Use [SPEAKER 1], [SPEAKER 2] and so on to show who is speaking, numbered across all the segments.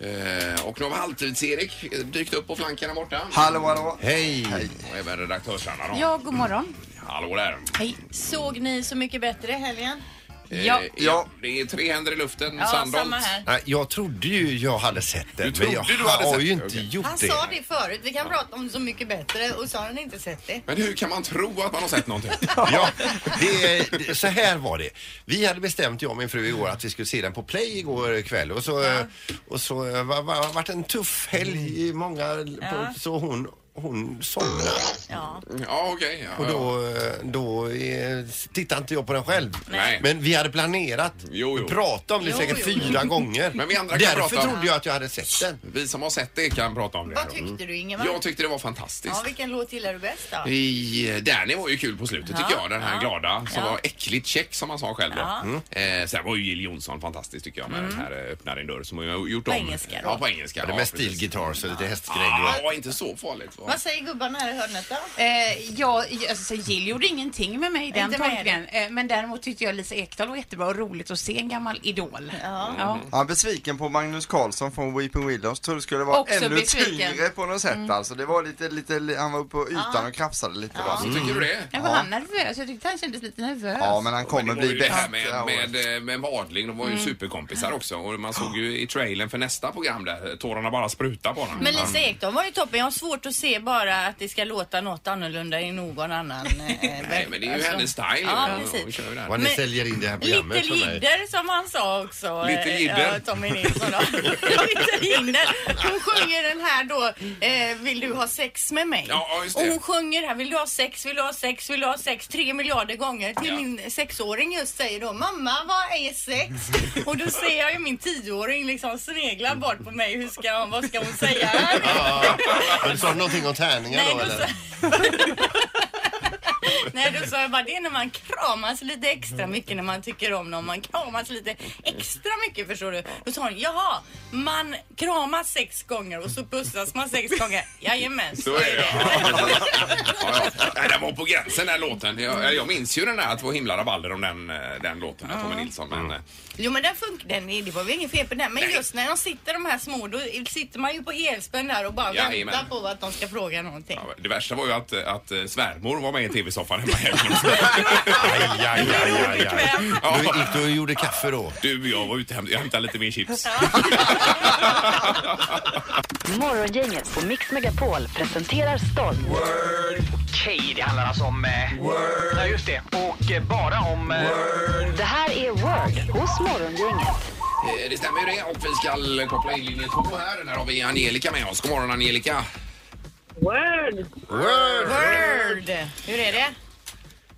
[SPEAKER 1] Eh, Och nu har halvtids-Erik eh, dykt upp på flanken här borta.
[SPEAKER 2] Hallå, hallå.
[SPEAKER 3] Hej!
[SPEAKER 1] Och även redaktörsarna då.
[SPEAKER 4] Ja, god morgon.
[SPEAKER 1] Hallå där.
[SPEAKER 4] Hej.
[SPEAKER 5] Såg ni Så mycket bättre i helgen?
[SPEAKER 1] Eh,
[SPEAKER 4] Ja.
[SPEAKER 2] Ja.
[SPEAKER 1] Det är tre händer i luften.
[SPEAKER 5] Ja,
[SPEAKER 1] Sandholt.
[SPEAKER 5] samma här.
[SPEAKER 3] Nej, Jag trodde ju jag hade sett den,
[SPEAKER 1] Du
[SPEAKER 3] men jag
[SPEAKER 1] trodde du hade
[SPEAKER 3] har
[SPEAKER 1] sett
[SPEAKER 3] ju
[SPEAKER 1] den,
[SPEAKER 3] inte
[SPEAKER 1] okej.
[SPEAKER 3] gjort
[SPEAKER 5] Han
[SPEAKER 3] det.
[SPEAKER 5] sa det förut. Vi kan prata om Så mycket bättre och så har han inte sett det.
[SPEAKER 1] Men hur kan man tro att man har sett någonting?
[SPEAKER 3] Ja, det, är- det- så här var det. Vi hade bestämt, jag och min fru igår, att vi skulle se den på Play igår kväll. Och så, eh, och så eh, var, var, vart en tuff helg
[SPEAKER 1] Mm.
[SPEAKER 3] i många... På, så hon, hon somnade.
[SPEAKER 5] Ja.
[SPEAKER 1] Ja, okej. ja,
[SPEAKER 3] Och
[SPEAKER 1] ja.
[SPEAKER 3] då, eh, då eh, tittade inte jag på den själv.
[SPEAKER 1] Nej.
[SPEAKER 3] Men vi hade planerat.
[SPEAKER 1] Jo, jo.
[SPEAKER 3] Vi pratade om det
[SPEAKER 5] Jo,
[SPEAKER 3] säkert
[SPEAKER 5] jo.
[SPEAKER 3] fyra gånger.
[SPEAKER 1] Men vi andra kan
[SPEAKER 3] Därför
[SPEAKER 1] prata.
[SPEAKER 3] trodde jag att jag hade sett den.
[SPEAKER 1] Vi som har sett det kan prata om det.
[SPEAKER 5] Vad tyckte du Ingemar?
[SPEAKER 1] Jag tyckte det var fantastiskt.
[SPEAKER 5] Ja, vilken låt gillar du bäst då?
[SPEAKER 1] I, eh, Danny var ju kul på slutet tycker
[SPEAKER 5] Ja,
[SPEAKER 1] jag. Den här
[SPEAKER 5] ja,
[SPEAKER 1] glada som
[SPEAKER 5] ja.
[SPEAKER 1] var äckligt check som han sa själv då.
[SPEAKER 3] Mm.
[SPEAKER 1] Eh, sen var ju Jill Johnson fantastisk tycker jag med den här eh, öppnar din dörr som hon har gjort
[SPEAKER 5] Mm. På
[SPEAKER 1] om.
[SPEAKER 5] engelska då.
[SPEAKER 1] Ja, på engelska.
[SPEAKER 3] Det
[SPEAKER 1] ja,
[SPEAKER 3] med
[SPEAKER 1] precis.
[SPEAKER 3] stilgitarr så lite hästgrejer.
[SPEAKER 1] Ah, var inte så farligt. Va?
[SPEAKER 5] Vad säger gubbarna här i hörnet då?
[SPEAKER 4] Eh, jag, alltså, Jill gjorde ingenting med mig i den
[SPEAKER 5] Inte med
[SPEAKER 4] tolkningen. Eh, men däremot tyckte jag Lisa Ekdahl var jättebra och roligt att se en gammal idol. Ja.
[SPEAKER 2] Mm. Han är besviken på Magnus Carlsson från Weeping Willows. Tror det skulle vara
[SPEAKER 4] Också
[SPEAKER 2] ännu
[SPEAKER 4] besviken. Mm.
[SPEAKER 2] tyngre på något sätt alltså. Det var lite, lite, han var uppe på ytan och krafsade lite bara.
[SPEAKER 5] Mm.
[SPEAKER 1] Så tycker du det?
[SPEAKER 4] Jag var han nervös? Alltså, Jag tyckte han kändes lite nervös.
[SPEAKER 2] Ja, men han kommer
[SPEAKER 1] Men det var
[SPEAKER 2] bli
[SPEAKER 1] ju det här
[SPEAKER 2] bäst.
[SPEAKER 1] med, med, eh, med Wadling, de var
[SPEAKER 5] Mm.
[SPEAKER 1] ju superkompisar också. Och man såg ju i trailern för nästa program där, tårarna bara spruta på honom.
[SPEAKER 5] Men Lisa Ekdahl var ju toppen. Jag har svårt att se bara att det ska låta något annorlunda i någon annan. eh,
[SPEAKER 1] Nej,
[SPEAKER 5] verk-
[SPEAKER 1] men det är ju
[SPEAKER 5] alltså.
[SPEAKER 1] hennes style.
[SPEAKER 5] Ja,
[SPEAKER 1] Hon- hon
[SPEAKER 5] precis.
[SPEAKER 1] kör ju den.
[SPEAKER 3] Vad ni
[SPEAKER 5] Men-
[SPEAKER 3] säljer in det här
[SPEAKER 5] Lite
[SPEAKER 3] programmet för mig.
[SPEAKER 5] Jidder som han sa också.
[SPEAKER 1] Lite
[SPEAKER 5] eh,
[SPEAKER 1] jidder.
[SPEAKER 5] Ja, Tommy Nilsson. då. Lite jidder. Hon sjunger den här då, eh, Vill du ha sex med mig?
[SPEAKER 1] Ja, ja, just det.
[SPEAKER 5] och hon sjunger här, Vill du ha sex, vill du ha sex, vill du ha sex, tre miljarder gånger till
[SPEAKER 1] Ja.
[SPEAKER 5] min sexåring just säger då, mamma vad är sex? och då ser jag ju min tioåring liksom snegla bort på mig, hur ska hon, vad ska hon säga här?
[SPEAKER 3] Men du sa någonting om tärningar
[SPEAKER 5] Nej,
[SPEAKER 3] då
[SPEAKER 5] då
[SPEAKER 3] eller?
[SPEAKER 5] Nej, då sa jag bara det är när man kramas lite extra mycket när man tycker om någon. Man kramas lite extra mycket förstår du. Då sa hon jaha, man kramas sex gånger och så pussas man sex gånger. Jajamän,
[SPEAKER 1] Så är det. Ja, ja. Nej, Den var på gränsen den här låten. Jag, jag minns ju den där, att det var himla rabalder om den, eh, den låten med Tommy Nilsson. Men, eh,
[SPEAKER 5] Jo men den funkar, den, det var väl ingen fel på den. Men
[SPEAKER 1] Nej.
[SPEAKER 5] just när de sitter de här små, då sitter man ju på helspänn där och bara
[SPEAKER 1] Jajamän.
[SPEAKER 5] väntar på att de ska fråga någonting.
[SPEAKER 1] ja, det värsta var ju att, att eh, svärmor var med i tv-soffan hemma i helgen.
[SPEAKER 3] Aj, aj, aj, aj, aj.
[SPEAKER 1] Ja.
[SPEAKER 3] Du gick du och gjorde kaffe då?
[SPEAKER 1] Du, jag var ute och hämt- jag hämtade lite mer chips.
[SPEAKER 6] Morgongänget på Mix Megapol presenterar stolt.
[SPEAKER 7] Okej, det handlar alltså om... Eh, Ja, just det. Och eh, bara om... Eh,
[SPEAKER 6] Det här är Word hos Morgongänget.
[SPEAKER 1] Eh, Det stämmer ju det. Och vi ska koppla in linje två här. Där har vi Angelica med oss. God morgon Angelica.
[SPEAKER 8] Word!
[SPEAKER 5] Word! Hur är det?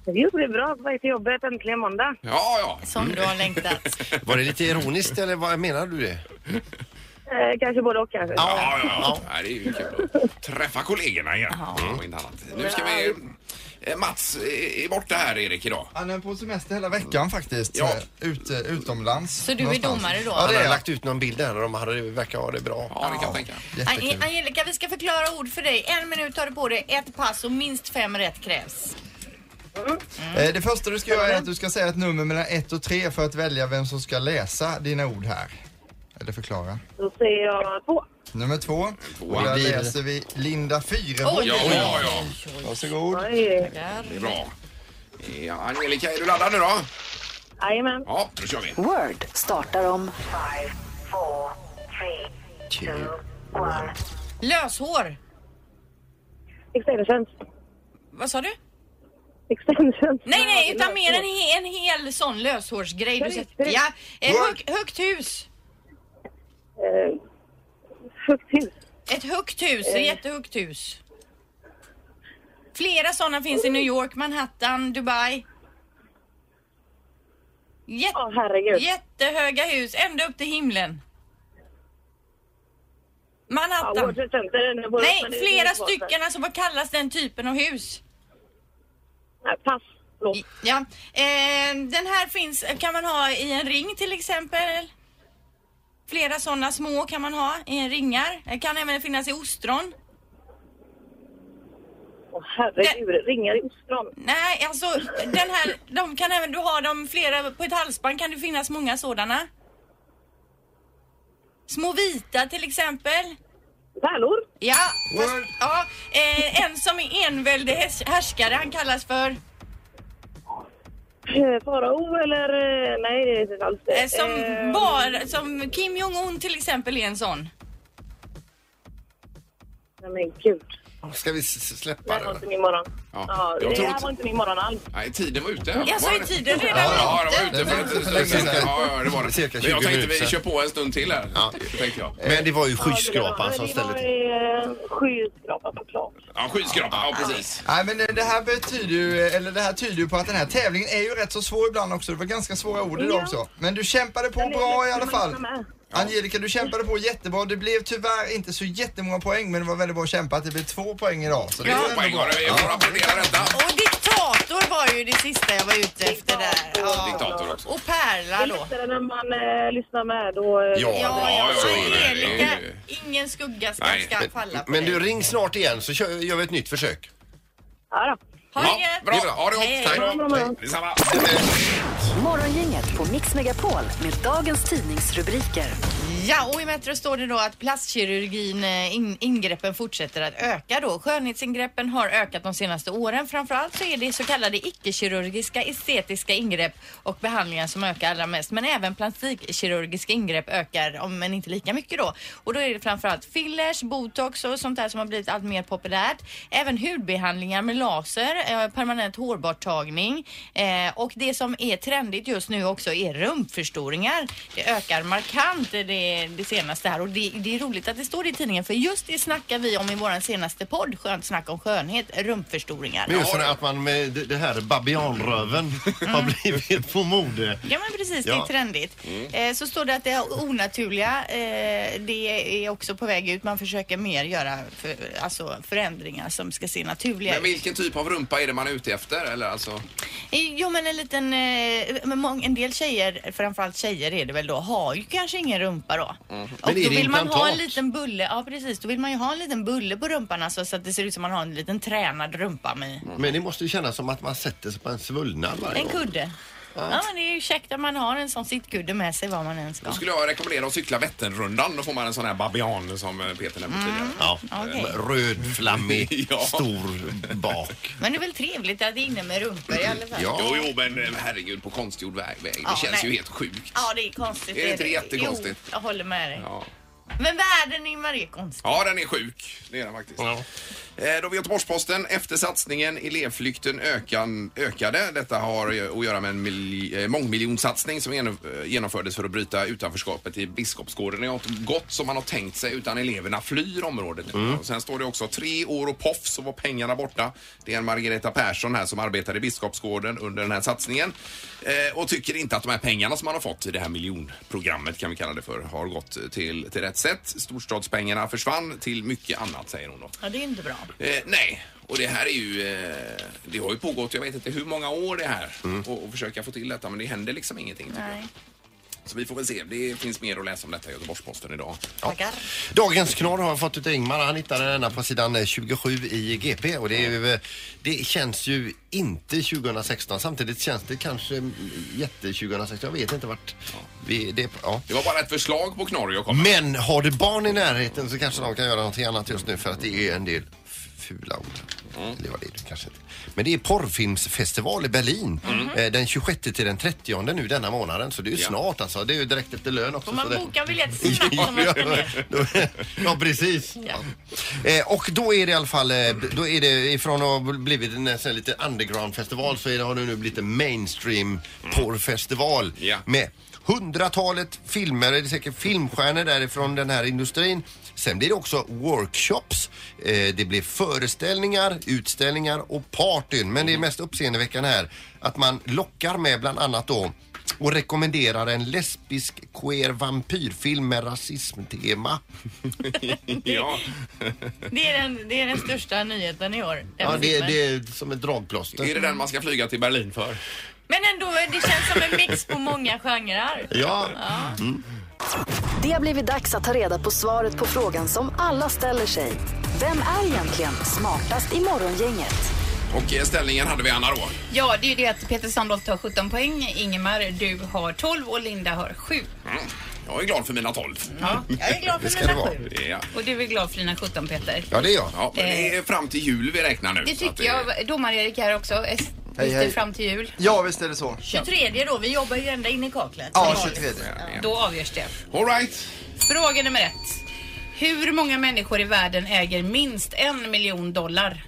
[SPEAKER 8] Jo, det är bra. På väg till jobbet. Äntligen måndag.
[SPEAKER 1] Ja, ja.
[SPEAKER 5] Som du har längtat.
[SPEAKER 3] Var det lite ironiskt eller vad menar du det?
[SPEAKER 8] Eh, kanske både och kanske.
[SPEAKER 1] Ja, ja, ja. Nej, det är ju kul att träffa kollegorna igen. Mm. Och inte annat. Nu ska vi... eh, Mats eh, är borta här, Erik, idag.
[SPEAKER 2] Han är på semester hela veckan faktiskt. eh,
[SPEAKER 1] Ja.
[SPEAKER 2] Ute, utomlands.
[SPEAKER 5] Så du är domare då?
[SPEAKER 2] Ja,
[SPEAKER 3] Han
[SPEAKER 2] det
[SPEAKER 3] hade
[SPEAKER 2] är jag.
[SPEAKER 3] lagt ut någon bild där och de hade, verkar ha det bra.
[SPEAKER 1] Ja, det kan jag tänka.
[SPEAKER 5] Ange-
[SPEAKER 2] Jättekul.
[SPEAKER 5] Angelica, vi ska förklara ord för dig. En minut har du på dig, ett pass och minst fem rätt krävs. Mm.
[SPEAKER 2] Eh, Det första du ska göra är att du ska säga ett nummer mellan 1 och 3 för att välja vem som ska läsa dina ord här. Eller förklara.
[SPEAKER 8] Då säger jag två.
[SPEAKER 2] Nummer två. Och där läser vi Linda Fyrebo.
[SPEAKER 5] Oj,
[SPEAKER 1] Ja,
[SPEAKER 5] oj,
[SPEAKER 1] ja, ja.
[SPEAKER 2] Varsågod.
[SPEAKER 8] Oj.
[SPEAKER 1] Det är bra. Ja, Angelica, är du laddad nu då?
[SPEAKER 8] Jajamän.
[SPEAKER 1] Ja, då kör vi.
[SPEAKER 6] Word startar om
[SPEAKER 5] Löshår.
[SPEAKER 8] Extensions.
[SPEAKER 5] Vad sa du?
[SPEAKER 8] Extensions.
[SPEAKER 5] Nej, nej, utan mer en, he- en hel sån löshårsgrej. Du sätter.
[SPEAKER 8] Direkt, direkt.
[SPEAKER 5] Ja, ett hög, högt hus.
[SPEAKER 8] Eh, Högt hus.
[SPEAKER 5] Ett högt hus, ett jättehögt hus. Flera sådana finns i New York, Manhattan, Dubai. Jätte,
[SPEAKER 8] Åh, herregud.
[SPEAKER 5] jättehöga hus, ända upp till himlen.
[SPEAKER 8] Ja,
[SPEAKER 5] Manhattan.
[SPEAKER 8] Water Center är nu på-
[SPEAKER 5] Nej,
[SPEAKER 8] men det är
[SPEAKER 5] flera
[SPEAKER 8] inget water.
[SPEAKER 5] stycken. Alltså vad kallas den typen av hus?
[SPEAKER 8] Nej, pass. Blå.
[SPEAKER 5] I- Ja, eh, den här finns, kan man ha i en ring till exempel. Flera sådana små kan man ha i en ringar. Eh, Kan även finnas i ostron.
[SPEAKER 8] Åh, herregud. Ringar i ostron.
[SPEAKER 5] Nej, alltså den här, de kan även, du har dem flera på ett halsband kan det finnas många sådana. Små vita till exempel.
[SPEAKER 8] Pärlor.
[SPEAKER 5] Ja, fast, ja eh, en som är enväldig härs- härskare, han kallas för...
[SPEAKER 8] Eh, Farao eller... eh, Nej, det är inte alls det.
[SPEAKER 5] Eh, som,
[SPEAKER 1] Ehm.
[SPEAKER 8] Eh,
[SPEAKER 5] bar, som Kim Jong-Un till exempel är en sån.
[SPEAKER 8] Nej, men gud.
[SPEAKER 3] Ska vi s-
[SPEAKER 8] Det
[SPEAKER 3] släppa
[SPEAKER 8] här var
[SPEAKER 3] det?
[SPEAKER 8] inte min morgon.
[SPEAKER 1] Ja,
[SPEAKER 8] Ja,
[SPEAKER 1] jag
[SPEAKER 8] det
[SPEAKER 1] tror
[SPEAKER 8] här
[SPEAKER 1] inte-
[SPEAKER 8] var inte min morgon alls.
[SPEAKER 1] Nej, tiden var ute.
[SPEAKER 5] Jag sa
[SPEAKER 1] Var
[SPEAKER 5] ju
[SPEAKER 1] det-
[SPEAKER 5] tiden redan.
[SPEAKER 1] Ja, ja, det var ute
[SPEAKER 2] Den-
[SPEAKER 1] för
[SPEAKER 2] den-
[SPEAKER 1] ett slag sedan.
[SPEAKER 2] den-
[SPEAKER 1] Ja, ja, det var det.
[SPEAKER 3] Cirka
[SPEAKER 1] Men jag
[SPEAKER 3] 20
[SPEAKER 1] tänkte vi
[SPEAKER 3] minuter.
[SPEAKER 1] kör på en stund till här.
[SPEAKER 3] Ja.
[SPEAKER 1] Tänkte jag.
[SPEAKER 3] Men det var ju
[SPEAKER 8] Ja, det var-
[SPEAKER 3] skyskrapan som
[SPEAKER 8] det var,
[SPEAKER 3] ställde till.
[SPEAKER 8] eh, Skyskrapan såklart.
[SPEAKER 1] Ja, skyskrapa. Ja, precis.
[SPEAKER 2] Nej men eh, det det här betyder ju, eh, eller det här tyder ju på att den här tävlingen är ju rätt så svår ibland också. Det var ganska svåra ord idag
[SPEAKER 8] Ja.
[SPEAKER 2] också. Men du kämpade på
[SPEAKER 8] Men det är
[SPEAKER 2] bra i
[SPEAKER 8] lätt
[SPEAKER 2] alla
[SPEAKER 8] att
[SPEAKER 2] fall.
[SPEAKER 8] lyssna med.
[SPEAKER 2] Angelica, du kämpade på jättebra. Det blev tyvärr inte så jättemånga poäng men det var väldigt bra kämpat. Det blev två poäng idag. Så
[SPEAKER 1] Det är två poäng har vi. Jag får applådera detta.
[SPEAKER 5] Och diktator var ju det sista jag var ute efter där. Ja.
[SPEAKER 1] Diktator också.
[SPEAKER 5] Och Perla
[SPEAKER 8] Det
[SPEAKER 5] då.
[SPEAKER 8] lyssnar när man eh, lyssnar med. Då, eh,
[SPEAKER 3] Ja,
[SPEAKER 5] Ja, ja,
[SPEAKER 1] ja,
[SPEAKER 5] så
[SPEAKER 1] ja, ja,
[SPEAKER 5] Angelica,
[SPEAKER 1] ja,
[SPEAKER 5] ingen skugga ska,
[SPEAKER 1] Nej,
[SPEAKER 5] ska falla på
[SPEAKER 3] Men du,
[SPEAKER 5] dig.
[SPEAKER 3] ring snart igen så kör, gör vi ett nytt försök.
[SPEAKER 8] Ja, då.
[SPEAKER 5] Ha
[SPEAKER 1] Ja,
[SPEAKER 5] det gött.
[SPEAKER 1] bra. Ha det gott. Tack.
[SPEAKER 8] Bra, bra, bra.
[SPEAKER 1] Detsamma.
[SPEAKER 6] Morgongänget på Mix Megapol med dagens tidningsrubriker.
[SPEAKER 5] Ja, och i Metro står det då att plastkirurgin, eh, in, ingreppen fortsätter att öka då. Skönhetsingreppen har ökat de senaste åren. Framförallt så är det så kallade icke-kirurgiska estetiska ingrepp och behandlingar som ökar allra mest. Men även plastikkirurgiska ingrepp ökar, om- men inte lika mycket då. Och då är det framförallt fillers, botox och sånt där som har blivit allt mer populärt. Även hudbehandlingar med laser, eh, permanent hårborttagning eh, och det som är trendigt just nu också är rumpförstoringar. Det ökar markant eh, det, det senaste här och det, det är roligt att det står i tidningen för just det snackar vi om i vår senaste podd, Skönt snack om skönhet, rumpförstoringar.
[SPEAKER 3] Men just det här att man med det det här babianröven har blivit på mode.
[SPEAKER 5] Ja men precis, det
[SPEAKER 3] Ja. Mm.
[SPEAKER 5] är trendigt. Eh, så står det att det är onaturliga, eh, det är också på väg ut. Man försöker mer göra för, alltså förändringar som ska se naturliga
[SPEAKER 1] Men
[SPEAKER 5] ut.
[SPEAKER 1] vilken typ av rumpa är det man är ute efter? Eller alltså,
[SPEAKER 5] Eh, Jo men en liten, eh, men mång- en del tjejer, framförallt tjejer är det väl då, har ju kanske ingen rumpa då. Och
[SPEAKER 3] Mhm. Men är
[SPEAKER 5] då
[SPEAKER 3] det
[SPEAKER 5] vill man ha en
[SPEAKER 3] implantat?
[SPEAKER 5] liten bulle, ja precis, då vill man ju ha en liten bulle på rumpan alltså, så att det ser ut som man har en liten tränad rumpa med
[SPEAKER 3] Men det måste ju kännas som att man sätter sig på en svullnad varje
[SPEAKER 5] en
[SPEAKER 3] gång.
[SPEAKER 5] kudde. Ja men det är ju käckt att man har en sån sittkudde med sig var man än ska.
[SPEAKER 1] då
[SPEAKER 3] Mm.
[SPEAKER 1] skulle jag rekommendera att cykla Vätternrundan. Då får man en sån här babian som eh, Peter
[SPEAKER 5] Mm.
[SPEAKER 1] nämnde tidigare.
[SPEAKER 3] Ja.
[SPEAKER 5] Okej.
[SPEAKER 3] Röd, flammig,
[SPEAKER 1] Ja.
[SPEAKER 3] stor bak.
[SPEAKER 5] Men det är väl trevligt att det är inne med rumpor i alla fall.
[SPEAKER 3] Ja.
[SPEAKER 1] Jo, jo, men eh, herregud på konstgjord väg. väg. Det
[SPEAKER 5] Ja,
[SPEAKER 1] känns
[SPEAKER 5] nej.
[SPEAKER 1] ju helt sjukt.
[SPEAKER 5] Ja, det är konstigt.
[SPEAKER 1] Är det inte jättekonstigt?
[SPEAKER 5] Jo, jag håller med dig.
[SPEAKER 1] Ja.
[SPEAKER 5] Men världen Ingmar är konstig.
[SPEAKER 1] Ja, den är sjuk. Det är den faktiskt. Eh, Då har vi Göteborgs-Posten. Efter satsningen elevflykten ökan, ökade. Detta har ju att göra med en mil, eh, mångmiljonsatsning som geno- eh, genomfördes för att bryta utanförskapet i Biskopsgården. Det har inte gått som man har tänkt sig utan eleverna flyr området. Och sen står det också tre år och poff så var pengarna borta. Det är en Margareta Persson här som arbetar i Biskopsgården under den här satsningen eh, och tycker inte att de här pengarna som man har fått i det här miljonprogrammet kan vi kalla det för har gått till, till rätt sätt. Storstadspengarna försvann till mycket annat säger hon då.
[SPEAKER 5] Ja, det är inte bra.
[SPEAKER 1] Eh, nej, och det här är ju... Eh, det har ju pågått, jag vet inte hur många år det här
[SPEAKER 9] Mm.
[SPEAKER 1] och, och försöka få till detta men det händer liksom ingenting tycker
[SPEAKER 5] Nej.
[SPEAKER 1] jag. Så vi får väl se. Det finns mer att läsa om detta i Göteborgs-Posten idag.
[SPEAKER 5] Tackar.
[SPEAKER 3] Dagens knorr har jag fått ut av Ingmar. Han hittade denna på sidan eh, 27 i GP och det, är ju, eh, det känns ju inte 2016. Samtidigt känns det kanske mm, jätte 2016. Jag vet inte vart vi... Det, ja.
[SPEAKER 1] Det var bara ett förslag på knorr jag kom med.
[SPEAKER 3] Men har du barn i närheten så kanske de kan göra någonting annat just nu för att det är en del f- fula ord.
[SPEAKER 1] Mm.
[SPEAKER 3] Eller vad det är det kanske inte. Men det är porrfilmsfestival i Berlin eh, den 26 till den 30 nu denna månaden så det är ju
[SPEAKER 1] Mm. Ja.
[SPEAKER 3] snart alltså. Det är ju direkt efter lön också.
[SPEAKER 5] Får man
[SPEAKER 3] så det...
[SPEAKER 5] boka en biljett snabbt om man
[SPEAKER 3] Ja,
[SPEAKER 5] ska ner?
[SPEAKER 3] ja, ja. ja, precis. Eh, och då är det i alla fall, eh, då är det ifrån att ha blivit en eh, sån här lite underground-festival så är det, har det nu blivit en mainstream porrfestival
[SPEAKER 1] Ja.
[SPEAKER 3] med hundratalet filmer, det är säkert filmstjärnor därifrån den här industrin. Sen blir det också workshops, eh, det blir föreställningar, utställningar och partyn. Men det är mest uppseendeväckande här att man lockar med bland annat då och rekommenderar en lesbisk queer vampyrfilm med rasismtema.
[SPEAKER 9] Mm.
[SPEAKER 1] Ja,
[SPEAKER 5] Det är, den, det är den största nyheten i år. den
[SPEAKER 3] Ja, det,
[SPEAKER 5] filmen.
[SPEAKER 3] det är som ett dragplåster.
[SPEAKER 1] är det den man ska flyga till Berlin för?
[SPEAKER 5] Men ändå, det känns som en mix på många genrer.
[SPEAKER 3] Ja,
[SPEAKER 6] Det har blivit dags att ta reda på svaret på frågan som alla ställer sig. Vem är egentligen smartast i Morgongänget?
[SPEAKER 1] Och eh, ställningen hade vi Anna då.
[SPEAKER 9] Ja, det är ju det att Peter Sandholt har 17 poäng, Ingemar du har 12 och Linda har 7.
[SPEAKER 1] Jag är glad för mina 12.
[SPEAKER 5] Ja, jag är glad
[SPEAKER 3] Det
[SPEAKER 5] för
[SPEAKER 3] ska det
[SPEAKER 5] mina
[SPEAKER 3] vara.
[SPEAKER 5] sju.
[SPEAKER 1] Ja.
[SPEAKER 9] Och du är glad för dina 17 Peter.
[SPEAKER 3] Ja, det är jag.
[SPEAKER 1] Ja, men det är fram till jul vi räknar nu.
[SPEAKER 9] Eh. Det
[SPEAKER 1] så att
[SPEAKER 9] tycker jag. Domar-Erik här också. Hej,
[SPEAKER 2] Hej, hej.
[SPEAKER 9] fram till jul.
[SPEAKER 2] Ja, visst är det så.
[SPEAKER 5] 23 då, vi jobbar ju ända in i kaklet.
[SPEAKER 2] Ja, 23.
[SPEAKER 9] Då avgörs det.
[SPEAKER 1] All right.
[SPEAKER 9] Fråga nummer ett. Hur många människor i världen äger minst en miljon dollar?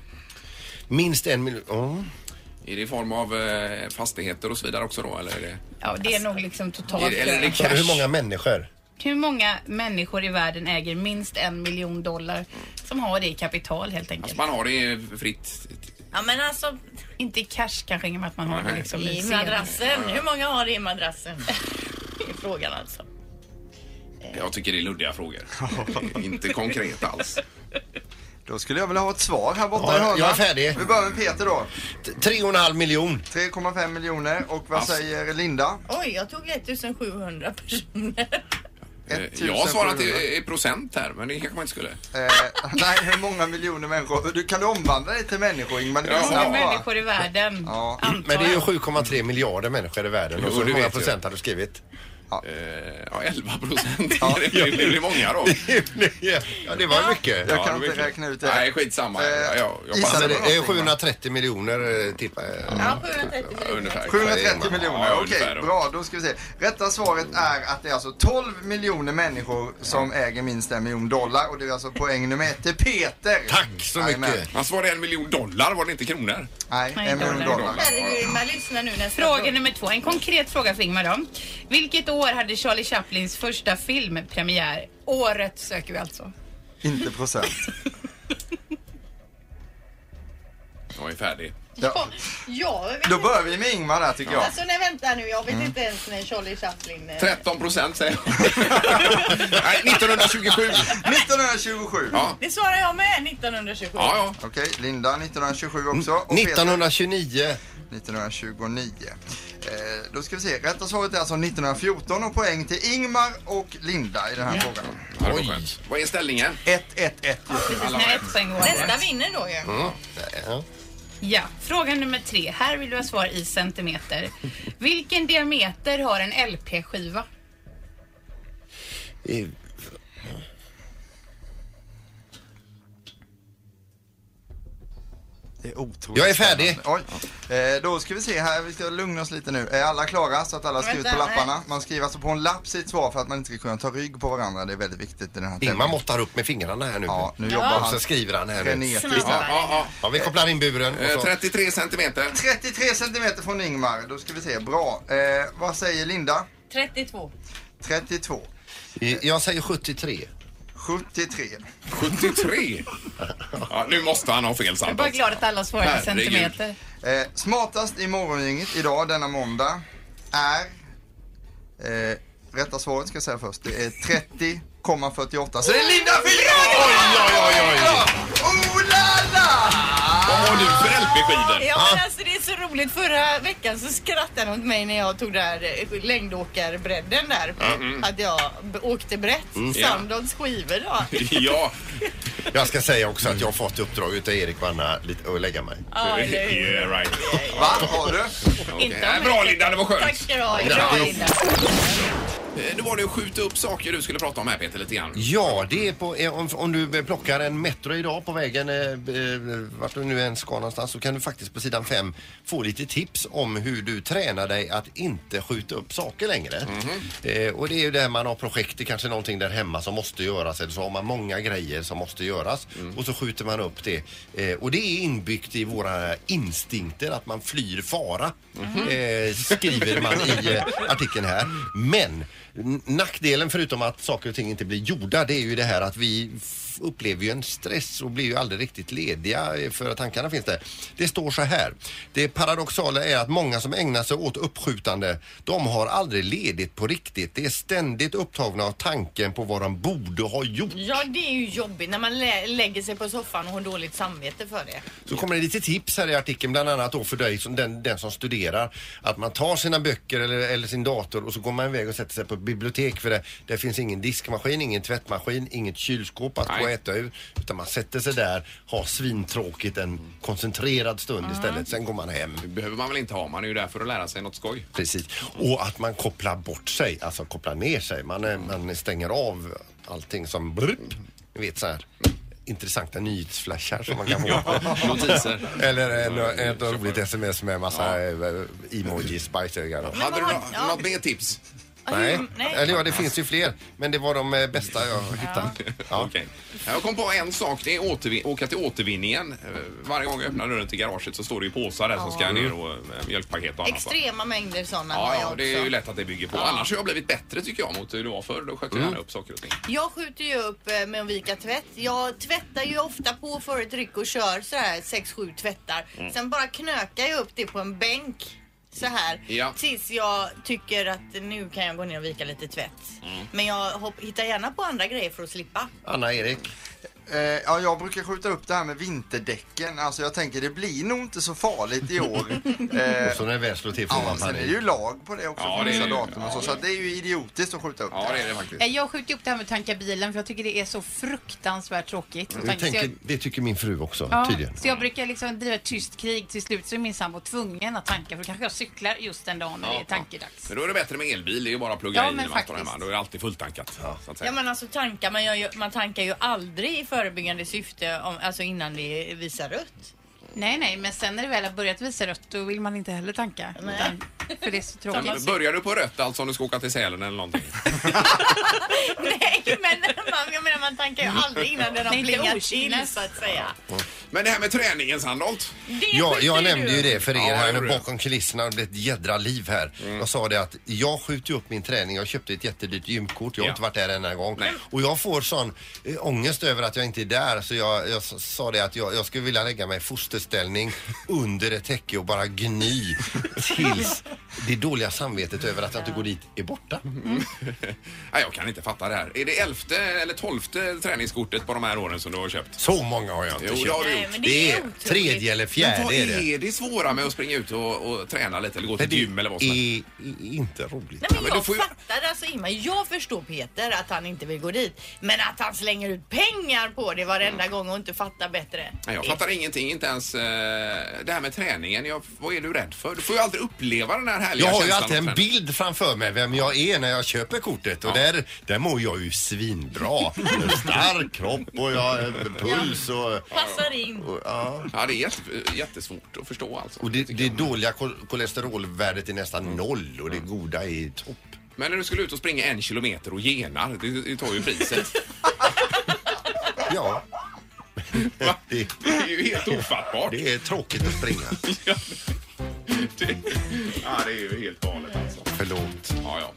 [SPEAKER 3] Minst en miljon. Ja.
[SPEAKER 1] Är det i form av eh, fastigheter och så vidare också då? Eller är det,
[SPEAKER 9] Ja, det är nog liksom
[SPEAKER 1] är
[SPEAKER 9] totalt.
[SPEAKER 1] det, eller är det
[SPEAKER 3] Sa du
[SPEAKER 1] cash?
[SPEAKER 3] hur många människor?
[SPEAKER 9] Hur många människor i världen äger minst en miljon dollar som har det i kapital helt
[SPEAKER 1] Alltså
[SPEAKER 9] enkelt?
[SPEAKER 1] man har det fritt.
[SPEAKER 5] Ja men alltså,
[SPEAKER 9] Inte i cash kanske, i och med att man har det liksom i
[SPEAKER 5] i
[SPEAKER 9] sedlar.
[SPEAKER 5] madrassen. Hur många har det i madrassen? Det är frågan alltså.
[SPEAKER 1] Jag tycker det är luddiga frågor. Inte konkret alls.
[SPEAKER 2] Då skulle jag vilja ha ett svar här borta
[SPEAKER 3] Ja,
[SPEAKER 2] i hörnan.
[SPEAKER 3] jag är färdig.
[SPEAKER 2] Vi börjar med Peter då.
[SPEAKER 3] T- Tre och en halv miljon.
[SPEAKER 2] 3,5 miljoner och vad
[SPEAKER 1] Alltså.
[SPEAKER 2] säger Linda?
[SPEAKER 5] Oj, jag tog 1700 personer.
[SPEAKER 1] Eh, Jag har svarat i, i procent här, men det kanske man inte skulle.
[SPEAKER 2] Eh, nej, hur många miljoner människor? Du, kan du omvandla det till människor Ingmar? Det
[SPEAKER 1] Ja.
[SPEAKER 2] är
[SPEAKER 9] Hur många
[SPEAKER 2] snabbt, va?
[SPEAKER 9] människor i världen?
[SPEAKER 2] Ja.
[SPEAKER 9] Antar
[SPEAKER 3] Men det är ju
[SPEAKER 9] jag.
[SPEAKER 3] 7,3 miljarder människor i världen.
[SPEAKER 1] Jo,
[SPEAKER 3] Och så
[SPEAKER 1] det
[SPEAKER 3] hur många
[SPEAKER 1] vet jag.
[SPEAKER 3] procent har du skrivit?
[SPEAKER 1] Eh, Ja, 11 procent. Det blir- det blir många då.
[SPEAKER 3] ja, det var mycket.
[SPEAKER 2] Jag
[SPEAKER 1] Ja,
[SPEAKER 2] kan
[SPEAKER 1] det var
[SPEAKER 2] inte
[SPEAKER 1] klart.
[SPEAKER 2] räkna ut det.
[SPEAKER 1] Nej, skitsamma.
[SPEAKER 2] Eh,
[SPEAKER 1] Ja, ja, jag
[SPEAKER 2] Isa,
[SPEAKER 1] passar
[SPEAKER 3] Alltså,
[SPEAKER 1] det.
[SPEAKER 3] det är 730 miljoner eh, tippar jag.
[SPEAKER 5] Ja, 730
[SPEAKER 1] Ungefär.
[SPEAKER 2] 730
[SPEAKER 1] Ja,
[SPEAKER 2] eh, miljoner,
[SPEAKER 1] ja,
[SPEAKER 2] okej
[SPEAKER 1] ungefär då.
[SPEAKER 2] bra då ska vi se. Rätta svaret är att det är alltså 12 miljoner människor som äger minst en miljon dollar och det är alltså poäng nummer ett till Peter.
[SPEAKER 3] Tack så
[SPEAKER 2] Jajamän.
[SPEAKER 3] mycket.
[SPEAKER 1] Han svarade en miljon dollar, var det inte kronor?
[SPEAKER 2] Nej,
[SPEAKER 9] Nej,
[SPEAKER 2] en miljon
[SPEAKER 9] dollar.
[SPEAKER 2] dollar.
[SPEAKER 5] Herregud, man lyssnar nu nästa
[SPEAKER 9] Fråga nummer två. En konkret fråga för Ingmar då. Vilket år hade Charlie Chaplins första film premiär? Året söker vi alltså.
[SPEAKER 2] Inte procent.
[SPEAKER 1] Jag är färdig.
[SPEAKER 2] Ja.
[SPEAKER 5] Ja, jag vet
[SPEAKER 2] Då börjar vi med Ingmar där tycker jag.
[SPEAKER 5] Alltså nej vänta nu, jag vet
[SPEAKER 1] Mm.
[SPEAKER 5] inte ens när Charlie Chaplin... eh,
[SPEAKER 1] 13 procent säger jag. Nej, 1927.
[SPEAKER 2] 1927.
[SPEAKER 1] Ja,
[SPEAKER 5] Det svarar jag med 1927.
[SPEAKER 1] ja. ja.
[SPEAKER 2] Okej, Linda 1927 också. Och Peter
[SPEAKER 3] 1929.
[SPEAKER 2] 1929. Eh, då ska vi se. Rätta svaret är alltså 1914 och poäng till Ingmar och Linda i den här frågan.
[SPEAKER 1] Ja, det var skönt. Vad är ställningen?
[SPEAKER 2] 1-1-1 just nu.
[SPEAKER 1] Alla
[SPEAKER 9] När
[SPEAKER 1] var
[SPEAKER 9] ett poäng går
[SPEAKER 5] Nästa
[SPEAKER 9] året.
[SPEAKER 5] vinner då ju.
[SPEAKER 3] Ja.
[SPEAKER 9] Ja, fråga nummer tre. Här vill du ha svar i centimeter. Vilken diameter har en LP-skiva?
[SPEAKER 3] I-
[SPEAKER 2] Det är otroligt.
[SPEAKER 3] Jag är färdig.
[SPEAKER 2] Oj. Eh, då ska vi se här, vi ska lugna oss lite nu. Är alla klara så att alla skrivit på
[SPEAKER 5] Vänta,
[SPEAKER 2] lapparna? Man skriver alltså på en lapp sitt svar för att man inte ska kunna ta rygg på varandra. Det är väldigt viktigt i den här
[SPEAKER 3] Ingmar
[SPEAKER 2] tävlingen.
[SPEAKER 3] måttar upp med fingrarna här nu.
[SPEAKER 2] Ja, nu jobbar
[SPEAKER 3] Och
[SPEAKER 2] han.
[SPEAKER 3] så skriver han här nu.
[SPEAKER 2] Genetiskt.
[SPEAKER 1] Ja, ja,
[SPEAKER 3] Ja, vi kopplar in buren.
[SPEAKER 1] ja. Eh,
[SPEAKER 3] Och så.
[SPEAKER 1] 33 centimeter.
[SPEAKER 2] 33 centimeter från Ingmar. Då ska vi se. Bra. Eh, vad säger Linda?
[SPEAKER 5] 32.
[SPEAKER 2] 32.
[SPEAKER 3] I- Eh, Jag säger 73.
[SPEAKER 2] 73.
[SPEAKER 1] 73. Ja, nu måste han ha fel
[SPEAKER 9] Jag är bara
[SPEAKER 1] Sandholt.
[SPEAKER 9] glad att alla svarar i
[SPEAKER 1] Herregud.
[SPEAKER 9] centimeter.
[SPEAKER 2] Eh, smartast i morgongänget idag denna måndag är... Eh, rätta svaret ska jag säga först. Det är 30,48. Så det är Linda fyra!
[SPEAKER 3] Oj, oj, oj, oj.
[SPEAKER 2] Oh la la!
[SPEAKER 1] Vad har du för LP-skivor?
[SPEAKER 5] Ja men alltså det är så roligt. Förra veckan så skrattade han åt mig när jag tog där eh, längdåkarbredden där. Att jag b- åkte brett.
[SPEAKER 1] Ja.
[SPEAKER 5] Sandons skivor då.
[SPEAKER 1] Ja,
[SPEAKER 3] Jag ska säga också att jag har fått uppdrag utav Erik och Anna lite- att lägga mig.
[SPEAKER 5] Ja, eller hur?
[SPEAKER 1] yeah, right.
[SPEAKER 2] Va? Har du?
[SPEAKER 1] Okej.
[SPEAKER 9] Inte om
[SPEAKER 1] Nej, Bra
[SPEAKER 9] det-
[SPEAKER 1] Linda, det var
[SPEAKER 5] Tack
[SPEAKER 1] skönt.
[SPEAKER 5] ska du ha.
[SPEAKER 9] Bra
[SPEAKER 3] Grattis.
[SPEAKER 9] Linda.
[SPEAKER 1] Eh, Nu var det att skjuta upp saker du skulle prata om här Peter lite grann.
[SPEAKER 3] Ja, det är på, eh, om, om du plockar en Metro idag på vägen eh, eh, vart du nu än ska någonstans så kan du faktiskt på sidan 5 få lite tips om hur du tränar dig att inte skjuta upp saker längre. Eh, och det är ju där man har projekt, det kanske är någonting där hemma som måste göras eller så har man många grejer som måste göras och så skjuter man upp det. Eh, och det är inbyggt i våra instinkter att man flyr fara eh, skriver man i eh, artikeln här. Men n- nackdelen förutom att saker och ting inte blir gjorda det är ju det här att vi f- upplever ju en stress och blir ju aldrig riktigt lediga eh, för att tankarna finns där. Det står så här. Det paradoxala är att många som ägnar sig åt uppskjutande de har aldrig ledigt på riktigt. Det är ständigt upptagna av tanken på vad de borde ha gjort.
[SPEAKER 5] Ja det är ju jobbigt när man lä- lägger sig på soffan och har dåligt samvete för det.
[SPEAKER 3] Så kommer det lite tips här i artikeln, bland annat då för dig som den, den som studerar. Att man tar sina böcker eller, eller sin dator och så går man iväg och sätter sig på bibliotek för det, det finns ingen diskmaskin, ingen tvättmaskin, inget kylskåp att gå och
[SPEAKER 1] Nej.
[SPEAKER 3] äta ur. Utan man sätter sig där, har svintråkigt en koncentrerad stund istället. Sen går man hem.
[SPEAKER 1] Det behöver man väl inte ha, man är ju där för att lära sig något skoj.
[SPEAKER 3] Precis. Och att man kopplar bort sig, alltså kopplar ner sig. Man, eh, man stänger av allting som brup. Ni vet så här intressanta nyhetsflashar som man kan få.
[SPEAKER 1] Notiser.
[SPEAKER 3] Eller en, ett roligt sms med massa eh, emojis, bajsögon. och-
[SPEAKER 1] Hade du
[SPEAKER 5] vad-
[SPEAKER 1] nå-
[SPEAKER 5] ja.
[SPEAKER 1] något mer tips?
[SPEAKER 3] Nej.
[SPEAKER 5] hur- Alltså, mm, nej.
[SPEAKER 3] Eller ja, det finns ju fler. Men det var de eh, bästa jag hittade. Ja.
[SPEAKER 1] Okej. Jag kom på en sak. Det är återvin- åka till återvinningen. Eh, Varje gång jag öppnar dörren till garaget så står det ju påsar där som ska ner och eh, mjölkpaket och annat.
[SPEAKER 5] Extrema mängder sådana har
[SPEAKER 1] Ja,
[SPEAKER 5] jag
[SPEAKER 1] ja,
[SPEAKER 5] också.
[SPEAKER 1] det är ju lätt att det bygger på. Annars har jag blivit bättre tycker jag mot hur det var förr. Då
[SPEAKER 5] Mm.
[SPEAKER 1] sköt jag gärna upp saker och ting.
[SPEAKER 5] Jag skjuter ju upp eh, med att vika tvätt. Jag tvättar ju ofta på före tryck och kör så här 6-7 tvättar.
[SPEAKER 1] Mm.
[SPEAKER 5] Sen bara knökar jag upp det på en bänk så här
[SPEAKER 1] Ja.
[SPEAKER 5] tills jag tycker att nu kan jag gå ner och vika lite tvätt.
[SPEAKER 1] Mm.
[SPEAKER 5] Men jag hopp, hittar gärna på andra grejer för att slippa.
[SPEAKER 3] Anna-Erik.
[SPEAKER 2] Eh, ja, jag brukar skjuta upp det här med vinterdäcken. Alltså jag tänker det blir nog inte så farligt i år. Eh,
[SPEAKER 3] Och så när det väl slår till får
[SPEAKER 2] ja,
[SPEAKER 3] man
[SPEAKER 2] sen är det
[SPEAKER 3] panik.
[SPEAKER 2] ju lag på det också
[SPEAKER 1] Ja,
[SPEAKER 2] för
[SPEAKER 1] det är
[SPEAKER 2] vissa
[SPEAKER 1] det ju.
[SPEAKER 2] datum och så. Så att det är ju idiotiskt att skjuta upp
[SPEAKER 1] Ja, det är det faktiskt.
[SPEAKER 4] Eh, Jag skjuter upp det här med att tanka bilen för jag tycker det är så fruktansvärt tråkigt. att
[SPEAKER 3] Jag
[SPEAKER 4] tanka. Så
[SPEAKER 3] tänker,
[SPEAKER 4] jag-
[SPEAKER 3] det tycker min fru också
[SPEAKER 4] Ja,
[SPEAKER 3] tydligen.
[SPEAKER 4] så jag brukar liksom driva ett tyst krig. Till slut så är min sambo tvungen att tanka för då kanske jag cyklar just den dagen när det är tankedags.
[SPEAKER 1] Men då är det bättre med elbil. Det är ju bara att plugga
[SPEAKER 4] Ja,
[SPEAKER 1] i
[SPEAKER 4] men
[SPEAKER 1] när man står
[SPEAKER 4] faktiskt.
[SPEAKER 1] hemma. Då är det alltid fulltankat. Så att säga.
[SPEAKER 5] Ja men alltså tankar, men jag, gör- man tankar ju aldrig i förebyggande syfte om, alltså innan det visar rött.
[SPEAKER 4] Nej, nej, men sen när det väl har börjat visa rött då vill man inte heller tanka.
[SPEAKER 5] Nej.
[SPEAKER 4] Utan, för det är så tråkigt.
[SPEAKER 1] Börjar du på rött alltså om du ska åka till Sälen eller någonting?
[SPEAKER 5] Nej men man, jag menar man tankar ju aldrig innan den har
[SPEAKER 4] Nej, inte
[SPEAKER 5] plingat till
[SPEAKER 4] okynnes.
[SPEAKER 5] så att säga.
[SPEAKER 1] Men det här med träningen Sandholt.
[SPEAKER 5] Det
[SPEAKER 3] Ja,
[SPEAKER 5] skiter
[SPEAKER 3] jag
[SPEAKER 5] ju
[SPEAKER 3] nämnde
[SPEAKER 5] du
[SPEAKER 3] ju det för
[SPEAKER 1] Ja,
[SPEAKER 3] er här
[SPEAKER 1] jag Mm.
[SPEAKER 3] nu
[SPEAKER 1] gjorde det.
[SPEAKER 3] bakom kulisserna. Det blev ett jädra liv här. Jag sa det att jag skjuter ju upp min träning. Jag köpte ett jättedyrt gymkort. Jag har
[SPEAKER 1] Ja.
[SPEAKER 3] inte varit där en enda gång.
[SPEAKER 1] Nej.
[SPEAKER 3] Och jag får sån eh, ångest över att jag inte är där. Så jag, jag s- sa det att jag, jag skulle vilja lägga mig i fosterställning under ett täcke och bara gny tills det dåliga samvetet över att jag inte går dit är borta.
[SPEAKER 1] Nej, jag kan inte fatta det här. Är det elfte eller tolfte träningskortet på de här åren som du har köpt?
[SPEAKER 3] Så många har jag inte
[SPEAKER 1] Jo, det
[SPEAKER 3] köpt.
[SPEAKER 1] har du
[SPEAKER 5] Nej,
[SPEAKER 1] gjort.
[SPEAKER 5] men
[SPEAKER 3] Det är
[SPEAKER 5] otroligt.
[SPEAKER 3] tredje eller
[SPEAKER 1] Men vad
[SPEAKER 3] fjärde är det.
[SPEAKER 1] är det svåra med att springa ut och, och träna lite eller gå
[SPEAKER 3] Men
[SPEAKER 1] till
[SPEAKER 3] det
[SPEAKER 1] gym eller vad som helst?
[SPEAKER 3] är inte roligt.
[SPEAKER 5] Nej,
[SPEAKER 1] Ja,
[SPEAKER 5] men
[SPEAKER 1] men
[SPEAKER 5] jag
[SPEAKER 1] du får ju-
[SPEAKER 5] fattar alltså Ingmar, jag förstår Peter att han inte vill gå dit. Men att han slänger ut pengar på det varenda gång och inte fattar bättre.
[SPEAKER 1] Nej, Jag fattar ingenting, inte ens eh, det här med träningen. Jag, vad är du rädd för? Du får ju aldrig uppleva den här härliga
[SPEAKER 3] Jag har ju
[SPEAKER 1] känslan
[SPEAKER 3] alltid
[SPEAKER 1] av
[SPEAKER 3] en
[SPEAKER 1] träning.
[SPEAKER 3] bild framför mig vem jag är när jag köper kortet och där, där mår jag ju svinbra. Stark kropp och jag eh, puls och...
[SPEAKER 5] Passar in.
[SPEAKER 3] och, Ja.
[SPEAKER 1] Ja, det är jätte, jättesvårt att förstå alltså.
[SPEAKER 3] Och det, det dåliga kol- kolesterolvärdet är nästan noll och det goda är i topp.
[SPEAKER 1] Men när du skulle ut och springa en kilometer och genar, det, det tar ju priset.
[SPEAKER 3] Ja,
[SPEAKER 1] Va?
[SPEAKER 3] det,
[SPEAKER 1] Det är ju helt ofattbart.
[SPEAKER 3] det är tråkigt att springa.
[SPEAKER 1] Det- Ja, det är ju helt galet alltså.
[SPEAKER 3] Förlåt.
[SPEAKER 1] Ja, ja.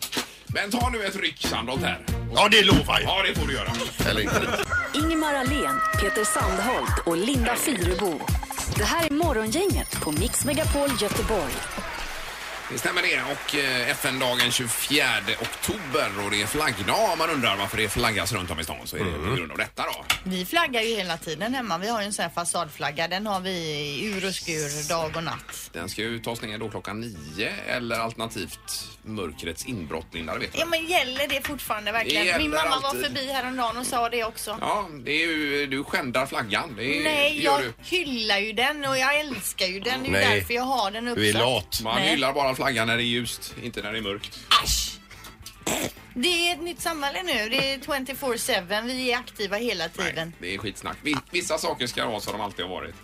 [SPEAKER 1] Men ta nu ett ryck Sandholt här.
[SPEAKER 3] Ja, det lovar jag.
[SPEAKER 1] Ja, det får du göra.
[SPEAKER 3] Eller inte.
[SPEAKER 6] Ingemar Ahlén, Peter Sandholt och Linda Fyrebo. Det här är Morgongänget på Mix Megapol Göteborg.
[SPEAKER 1] Det stämmer det. Och eh, FN-dagen 24 oktober och det är flaggdag. Om man undrar varför det flaggas runt om i stan så är det
[SPEAKER 3] Mm.
[SPEAKER 1] på grund av detta då.
[SPEAKER 5] Vi flaggar ju hela tiden hemma. Vi har ju en sån här fasadflagga. Den har vi i ur och skur dag och natt.
[SPEAKER 1] Den ska ju tas ner då klockan nio eller alternativt mörkrets inbrott, Linda. Det vet du.
[SPEAKER 5] Ja men gäller det fortfarande verkligen?
[SPEAKER 1] Det gäller
[SPEAKER 5] Min mamma
[SPEAKER 1] alltid.
[SPEAKER 5] var förbi häromdagen och sa det också.
[SPEAKER 1] Ja, det är ju, du skändar flaggan. Det är, det
[SPEAKER 5] Nej,
[SPEAKER 1] gör
[SPEAKER 5] jag
[SPEAKER 1] du.
[SPEAKER 5] hyllar ju den och jag älskar ju den. Det är ju
[SPEAKER 3] Nej.
[SPEAKER 5] därför jag har den uppsatt.
[SPEAKER 3] Du är lat.
[SPEAKER 1] Man
[SPEAKER 5] Nej.
[SPEAKER 1] hyllar bara flaggan när det är ljust, inte när det är mörkt.
[SPEAKER 5] Asch! Det är ett nytt samhälle nu. Det är 24-7. Vi är aktiva hela tiden.
[SPEAKER 1] Det är skitsnack. Vi- Vissa saker ska vara som de alltid har varit.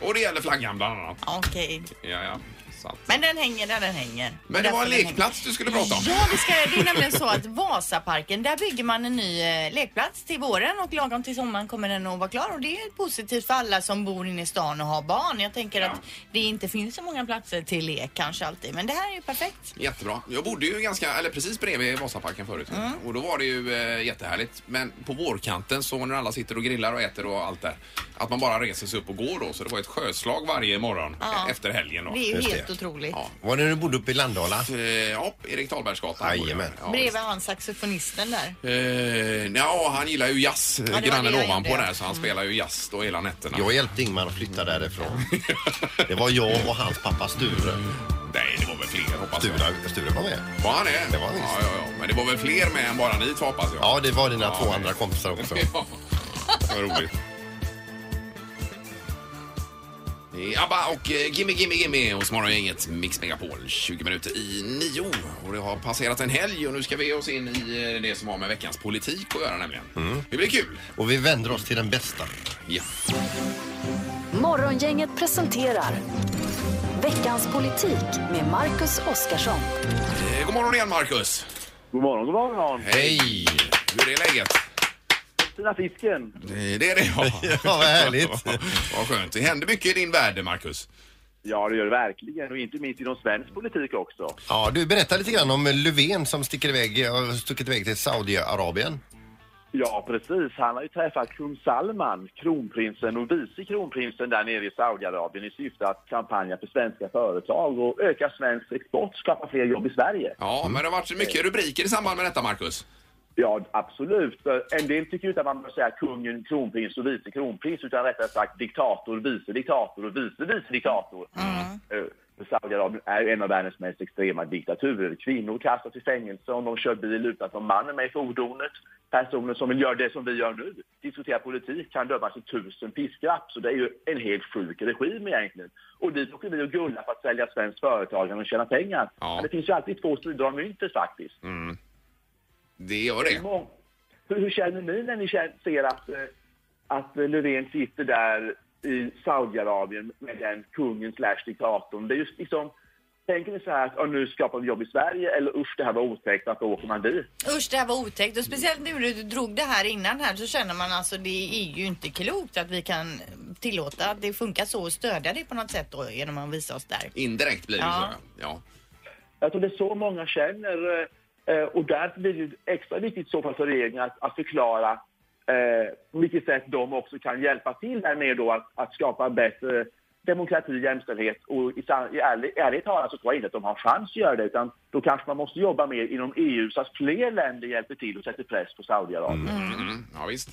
[SPEAKER 1] Och det gäller flaggan bland annat.
[SPEAKER 5] Okej.
[SPEAKER 1] Ja, ja. Så att-
[SPEAKER 5] Men den hänger där den hänger.
[SPEAKER 1] Men det
[SPEAKER 5] Därför
[SPEAKER 1] var en
[SPEAKER 5] den
[SPEAKER 1] lekplats du skulle prata om.
[SPEAKER 5] hänger. Ja, det, ska, det är nämligen så att Vasaparken, där bygger man en ny eh, lekplats till våren och lagom till sommaren kommer den att vara klar och det är positivt för alla som bor inne i stan och har barn. Jag tänker
[SPEAKER 1] Ja.
[SPEAKER 5] att det inte finns så många platser till lek kanske alltid, men det här är ju perfekt.
[SPEAKER 1] Jättebra. Jag bodde ju ganska, eller precis bredvid Vasaparken förut.
[SPEAKER 5] Mm.
[SPEAKER 1] Och då var det ju eh, jättehärligt. Men på vårkanten så när alla sitter och grillar och äter och allt där. Att man bara reser sig upp och går då. Så det var ett sjöslag varje morgon
[SPEAKER 5] Ja.
[SPEAKER 1] eh, efter helgen då.
[SPEAKER 5] Det är ju
[SPEAKER 3] Just
[SPEAKER 5] helt
[SPEAKER 3] det.
[SPEAKER 5] otroligt.
[SPEAKER 1] Ja.
[SPEAKER 3] Var det när du bodde uppe i Landala?
[SPEAKER 1] Eh, Ja, Erik Dahlbergsgatan. bodde jag.
[SPEAKER 3] Jajamän.
[SPEAKER 1] Ja,
[SPEAKER 5] Bredvid han saxofonisten där.
[SPEAKER 1] Eh, ja, han gillar ju jazz,
[SPEAKER 5] det var
[SPEAKER 1] grannen
[SPEAKER 5] det jag
[SPEAKER 1] ovanpå
[SPEAKER 5] gjorde.
[SPEAKER 1] där. Så han spelar ju jazz då hela nätterna.
[SPEAKER 3] Jag hjälpte Ingmar att flytta därifrån. Det var jag och hans pappa Sture.
[SPEAKER 1] Nej, det var väl fler hoppas jag.
[SPEAKER 3] Sture, Sture var med.
[SPEAKER 1] Var han det?
[SPEAKER 3] Det var han
[SPEAKER 1] ja,
[SPEAKER 3] visst.
[SPEAKER 1] ja, ja. Men det var väl fler med än bara ni två hoppas jag.
[SPEAKER 3] Ja, det var dina
[SPEAKER 1] Ja,
[SPEAKER 3] två
[SPEAKER 1] det-
[SPEAKER 3] andra kompisar också.
[SPEAKER 1] Ja. Vad roligt. Det är ABBA och eh, Gimme Gimme Gimme hos Morgongänget Mix Megapol 20 minuter i nio. Och det har passerat en helg och nu ska vi ge oss in i eh, det som har med veckans politik att göra nämligen. Det blir kul!
[SPEAKER 3] Och vi vänder oss till den bästa.
[SPEAKER 1] Ja.
[SPEAKER 6] Morgongänget presenterar Veckans politik med Marcus Oskarsson.
[SPEAKER 1] Eh, God morgon igen Marcus!
[SPEAKER 10] God morgon, god morgon.
[SPEAKER 1] Hej! Hur är läget?
[SPEAKER 10] Fina fisken.
[SPEAKER 1] Eh, Det är det ja.
[SPEAKER 3] Ja, vad härligt.
[SPEAKER 1] Vad skönt. Det händer mycket i din värld Marcus.
[SPEAKER 10] Ja, det gör det verkligen. Och inte minst inom svensk politik också.
[SPEAKER 3] Ja, du berättade lite grann om Löfven som sticker iväg, eh, har stuckit iväg till Saudiarabien.
[SPEAKER 10] Ja, precis. Han har ju träffat kung Salman, kronprinsen och vice kronprinsen där nere i Saudiarabien i syfte att kampanja för svenska företag och öka svensk export, skapa fler jobb i Sverige.
[SPEAKER 1] Ja,
[SPEAKER 3] Mm.
[SPEAKER 1] men det har varit mycket rubriker i samband med detta Marcus.
[SPEAKER 10] Ja, absolut. För En del tycker ju inte att man bör säga kungen, kronprins och vice kronprins utan rättare sagt diktator, vice diktator och vice vice diktator. Eh, för Saudiarabien är ju en av världens mest extrema diktaturer. Kvinnor kastas i fängelse om de kör bil utan att de mannen med i fordonet. Personer som vill göra det som vi gör nu, diskutera politik, kan dömas till tusen piskrapp. Så det är ju en helt sjuk regim egentligen. Och dit åker vi och gullar för att sälja svenskt företagande och tjäna pengar.
[SPEAKER 1] Ja.
[SPEAKER 10] Men det finns ju alltid två sidor av myntet faktiskt.
[SPEAKER 1] Det gör det.
[SPEAKER 10] Mång- Hur, hur känner ni när ni känner, ser att, eh, att eh, Löfven sitter där i Saudiarabien med den kungen slash diktatorn? Det är just liksom, tänker ni så här att "Ja, nu skapar vi jobb i Sverige eller usch det här var otäckt, att åker man dit?
[SPEAKER 5] Usch, det här var otäckt. Och speciellt nu när du drog det här innan här så känner man alltså det är ju inte klokt att vi kan tillåta att det funkar så och stödja det på något sätt då genom att visa oss där.
[SPEAKER 1] Indirekt blir det
[SPEAKER 5] Ja.
[SPEAKER 1] så. Ja.
[SPEAKER 10] Jag tror det är så många känner eh, eh, och därför blir det ju extra viktigt i så fall för regeringen att, att förklara eh, på vilket sätt de också kan hjälpa till där med då att, att skapa en bättre demokrati, jämställdhet och i, san- i ärlig, ärligt talat så tror jag inte att de har en chans att göra det utan då kanske man måste jobba mer inom EU så att fler länder hjälper till och sätter press på Saudiarabien.
[SPEAKER 1] Mm, ja visst.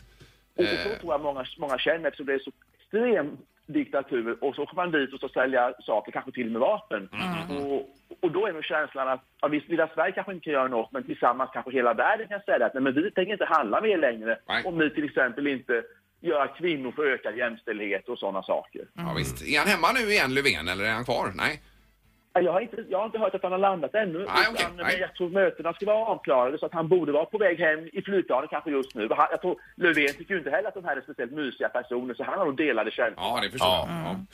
[SPEAKER 10] Och
[SPEAKER 1] Eh.
[SPEAKER 10] så så tror jag många, många känner eftersom det är så extrem diktatur och så åker man dit och så säljer saker, kanske till och med vapen.
[SPEAKER 1] Mm.
[SPEAKER 10] Och, och då är nog känslan att ja, visst, lilla Sverige kanske inte kan göra något men tillsammans kanske hela världen kan säga att nej, men vi tänker inte handla med er längre
[SPEAKER 1] Nej.
[SPEAKER 10] om ni till exempel inte gör att kvinnor för ökad jämställdhet och sådana saker.
[SPEAKER 1] Ja, visst. Är han hemma nu igen, Löfven, eller är han kvar? Nej.
[SPEAKER 10] Ja, Jag har, inte, jag har inte hört att han har landat ännu.
[SPEAKER 1] Nej, okej.
[SPEAKER 10] utan,
[SPEAKER 1] Nej.
[SPEAKER 10] Men jag tror mötena ska vara avklarade så att han borde vara på väg hem i flygplanet kanske just nu. Han, jag tror Löfven tycker ju inte heller att de här är speciellt mysiga personer så han har nog delade känslor.
[SPEAKER 1] Ja, det förstår
[SPEAKER 3] Ja.
[SPEAKER 1] jag.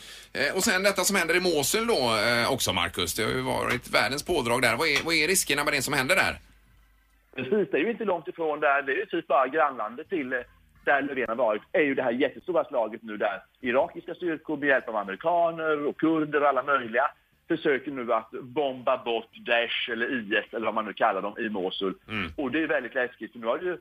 [SPEAKER 1] Ja. Eh, Och sen detta som händer i Mosul då eh, också, Markus. Det har ju varit världens pådrag där. Vad är, vad är riskerna med det som händer där?
[SPEAKER 10] Precis, det är ju inte långt ifrån där. Det är ju typ bara grannlandet till eh, där Löfven har varit. är ju det här jättestora slaget nu där irakiska styrkor med hjälp av amerikaner och kurder och alla möjliga försöker nu att bomba bort Daesh eller IS eller vad man nu kallar dem i Mosul. Och det är väldigt läskigt för nu har ju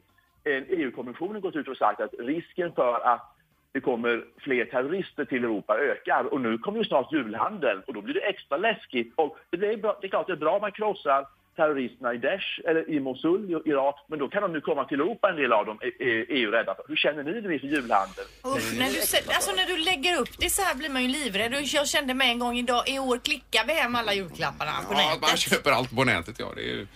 [SPEAKER 10] en EU-kommissionen gått ut och sagt att risken för att det kommer fler terrorister till Europa ökar och nu kommer ju snart julhandeln och då blir det extra läskigt. Och det, är bra, det är klart det är bra om man krossar terroristerna i Daesh eller i Mosul i Irak men då kan de nu komma till Europa en del av dem är- är EU rädda för. Hur känner ni det inför julhandeln?
[SPEAKER 5] Usch, när du, sä- alltså när du lägger upp det så här blir man ju livrädd. Och Jag kände mig en gång idag, i år klickar vi hem alla julklapparna på
[SPEAKER 1] Ja, att man
[SPEAKER 5] nätet.
[SPEAKER 1] köper allt på nätet, ja. Det är ju,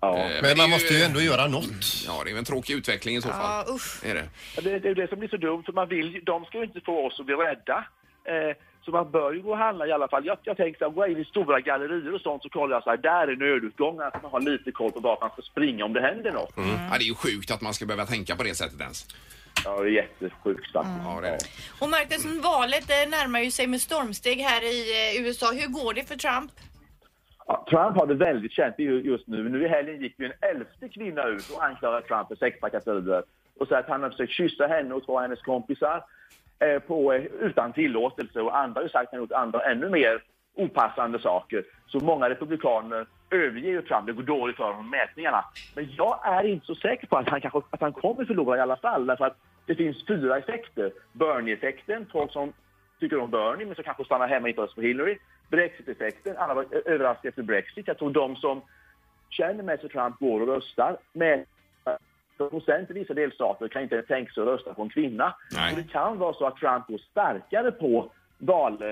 [SPEAKER 10] Ja.
[SPEAKER 1] eh, det är
[SPEAKER 3] Men man måste ju ändå göra något.
[SPEAKER 1] Ja, det är ju en tråkig utveckling i så fall.
[SPEAKER 5] Ja, usch.
[SPEAKER 1] Är det?
[SPEAKER 10] Ja, Det, det är ju det som blir så dumt, för man vill, ju- de ska ju inte få oss att bli rädda. Eh, så man bör ju gå och handla i alla fall. Jag, jag tänker så här, gå in i stora gallerier och sånt så kollar jag så här, där är nödutgångar så man har lite koll på vart man ska springa om det händer något.
[SPEAKER 1] Mm. Ja, det är ju sjukt att man ska behöva tänka på det sättet ens.
[SPEAKER 10] Ja, det är jättesjukt faktiskt.
[SPEAKER 1] Ja, det är det.
[SPEAKER 5] Och Marcus, valet eh, närmar ju sig med stormsteg här i eh, USA. Hur går det för Trump?
[SPEAKER 10] Ja, Trump har det väldigt känt ju- just nu. Nu i helgen gick ju en elfte kvinna ut och anklagade Trump för sextrakasserier och sa att han har försökt kyssa henne och två av hennes kompisar eh, på, eh, utan tillåtelse och andra har ju sagt att han gjort andra ännu mer opassande saker. Så många republikaner överger ju Trump. Det går dåligt för honom i mätningarna. Men jag är inte så säker på att han, kanske, att han kommer förlora i alla fall därför att det finns fyra effekter. Bernie-effekten, folk som tycker om Bernie men som kanske stannar hemma och inte röstar på Hillary. Brexit-effekten, alla var ö- överraskade efter Brexit. Jag tror de som känner med sig Trump går och röstar. Men eh, procent i vissa delstater kan inte ens tänka sig att rösta på en kvinna.
[SPEAKER 1] Nej.
[SPEAKER 10] Och det kan vara så att Trump går starkare på val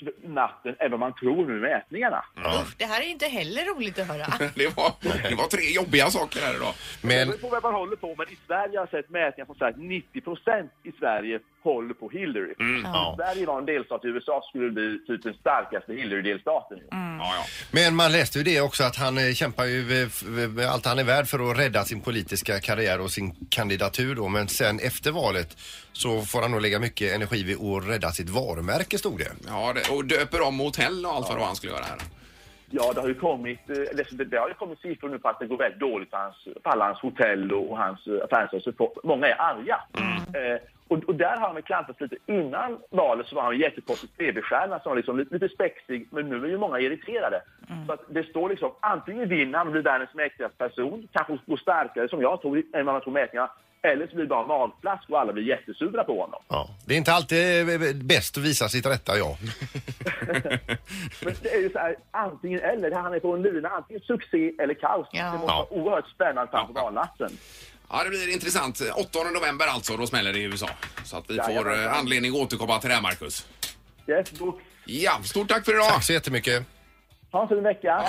[SPEAKER 10] kv- natten än vad man tror nu med ätningarna.
[SPEAKER 5] Usch, det här är inte heller roligt att höra.
[SPEAKER 1] Det var, det var tre jobbiga saker här idag.
[SPEAKER 10] Men... Det beror på vad man håller på med. I Sverige har jag sett mätningar som säger att 90 procent i Sverige håller på Hillary.
[SPEAKER 3] Mm. Ja.
[SPEAKER 10] Om Sverige var en delstat i USA skulle det bli typ den starkaste Hillary-delstaten.
[SPEAKER 1] Mm.
[SPEAKER 3] Men man läste ju det också att han eh, kämpar ju eh, f- med allt han är värd för att rädda sin politiska karriär och sin kandidatur då. Men sen efter valet så får han nog lägga mycket energi vid att rädda sitt varumärke stod det.
[SPEAKER 1] Ja, det, och döper om hotell och allt vad det var han skulle göra här.
[SPEAKER 10] Ja, det har ju kommit, eh, eller så det, det har ju kommit siffror nu på att det går väldigt dåligt för, hans, för alla hans hotell och, och hans eh, affärshus. Så folk- Många är arga. Eh, och, och där har han väl klantat lite. Innan valet så var han en jättepoppis TV-stjärna som var liksom lite, lite spexig, men nu är ju många irriterade. Så att det står liksom antingen vinner han och blir världens mäktigaste person, kanske går starkare som jag tror än vad man tror mätningarna, eller så blir det bara magplask och alla blir jättesura på honom.
[SPEAKER 3] Ja. Det är inte alltid eh, bäst att visa sitt rätta jag.
[SPEAKER 10] Men det är ju så här, antingen eller. Han är på en lina. Antingen succé eller kaos. Det måste
[SPEAKER 1] Ja.
[SPEAKER 10] vara oerhört spännande fram på valnatten.
[SPEAKER 1] Ja, det blir intressant. 8 november alltså, då smäller det i USA. Så att vi får
[SPEAKER 10] Jajamän.
[SPEAKER 1] eh, anledning att återkomma till det här, Marcus.
[SPEAKER 10] Yes, då.
[SPEAKER 1] Ja, stort tack för idag! Tack
[SPEAKER 3] så jättemycket!
[SPEAKER 10] Ha en fin vecka.